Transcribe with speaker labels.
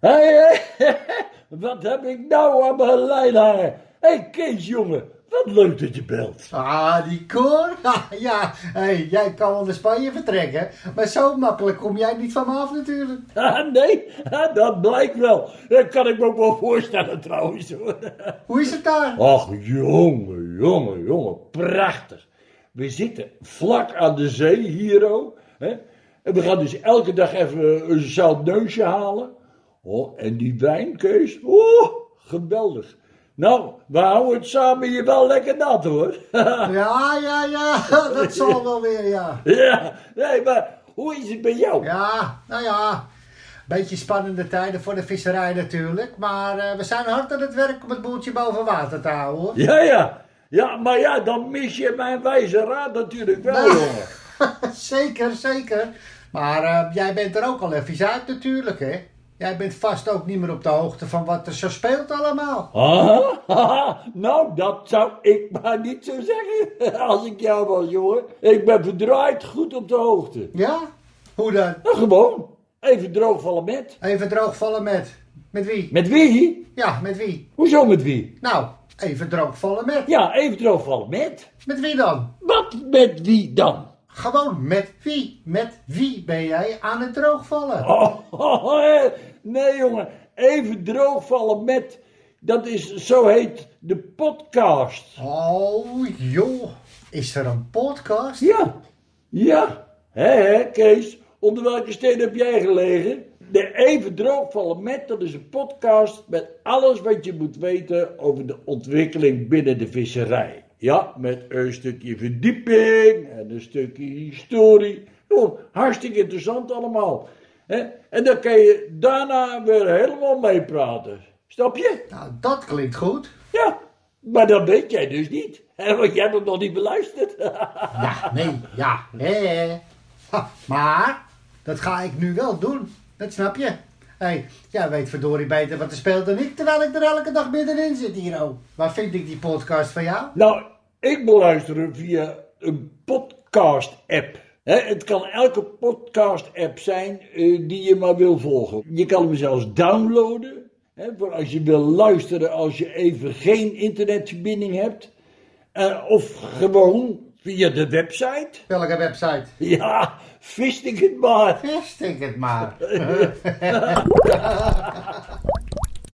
Speaker 1: Hé, hé, wat heb ik nou aan mijn lijn hangen? Hé, Kees, jongen, wat leuk dat je belt.
Speaker 2: Ah, die koor? Ha, ja, hey, jij kan wel naar Spanje vertrekken. Maar zo makkelijk kom jij niet van me af natuurlijk.
Speaker 1: Ah, nee, ah, dat blijkt wel. Dat kan ik me ook wel voorstellen trouwens. hoor.
Speaker 2: Hoe is het daar?
Speaker 1: Ach, jongen, jongen, jongen, prachtig. We zitten vlak aan de zee hier ook. Hè? En we gaan dus elke dag even een zout neusje halen. Oh, en die wijn, Kees, oeh, geweldig. Nou, we houden het samen hier wel lekker nat hoor.
Speaker 2: Ja, ja, ja, dat zal wel weer, ja.
Speaker 1: ja, nee, maar hoe is het bij jou?
Speaker 2: Ja, nou ja. Beetje spannende tijden voor de visserij natuurlijk. Maar eh, we zijn hard aan het werk om het boeltje boven water te houden hoor.
Speaker 1: Ja, ja. Ja, maar ja, dan mis je mijn wijze raad natuurlijk wel,
Speaker 2: Nou.
Speaker 1: jongen.
Speaker 2: zeker, zeker. Maar eh, jij bent er ook al even uit natuurlijk hè. Jij bent vast ook niet meer op de hoogte van wat er zo speelt allemaal.
Speaker 1: Ah, haha, nou, dat zou ik maar niet zo zeggen als ik jou was, jongen. Ik ben verdraaid goed op de hoogte.
Speaker 2: Ja? Hoe dan?
Speaker 1: Nou, gewoon. Even droogvallen met.
Speaker 2: Even droogvallen met. Met wie?
Speaker 1: Met wie?
Speaker 2: Ja, met wie?
Speaker 1: Hoezo met wie?
Speaker 2: Nou, even droogvallen met.
Speaker 1: Ja, even droogvallen met.
Speaker 2: Met wie dan?
Speaker 1: Wat met wie dan?
Speaker 2: Gewoon met wie? Met wie ben jij aan het droogvallen?
Speaker 1: Oh, oh, oh, hè. nee, jongen. Even droogvallen met. Dat is, zo heet de podcast.
Speaker 2: Oh, joh. Is er een podcast?
Speaker 1: Ja, ja. Hé, hé, Kees, onder welke steen heb jij gelegen? De Even Droogvallen Met, dat is een podcast met alles wat je moet weten over de ontwikkeling binnen de visserij. Ja, met een stukje verdieping en een stukje historie. Joh, hartstikke interessant allemaal. hè? En dan kan je daarna weer helemaal meepraten. Snap je?
Speaker 2: Nou, dat klinkt goed.
Speaker 1: Ja, maar dat weet jij dus niet. hè, Want jij hebt hem nog niet beluisterd.
Speaker 2: Ja, nee, ja, hè. Ha, maar, dat ga ik nu wel doen. Dat snap je. Hé, hey, jij weet verdorie beter wat er speelt dan ik, terwijl ik er elke dag middenin zit hier, oh. Waar vind ik die podcast van jou?
Speaker 1: Nou, ik beluister hem via een podcast-app. Hè, het kan elke podcast-app zijn eh, die je maar wil volgen. Je kan hem zelfs downloaden. Hè, voor als je wil luisteren als je even geen internetverbinding hebt. Eh, of gewoon via de website.
Speaker 2: Welke website?
Speaker 1: Ja, vist ik het maar.
Speaker 2: Vist ik het maar.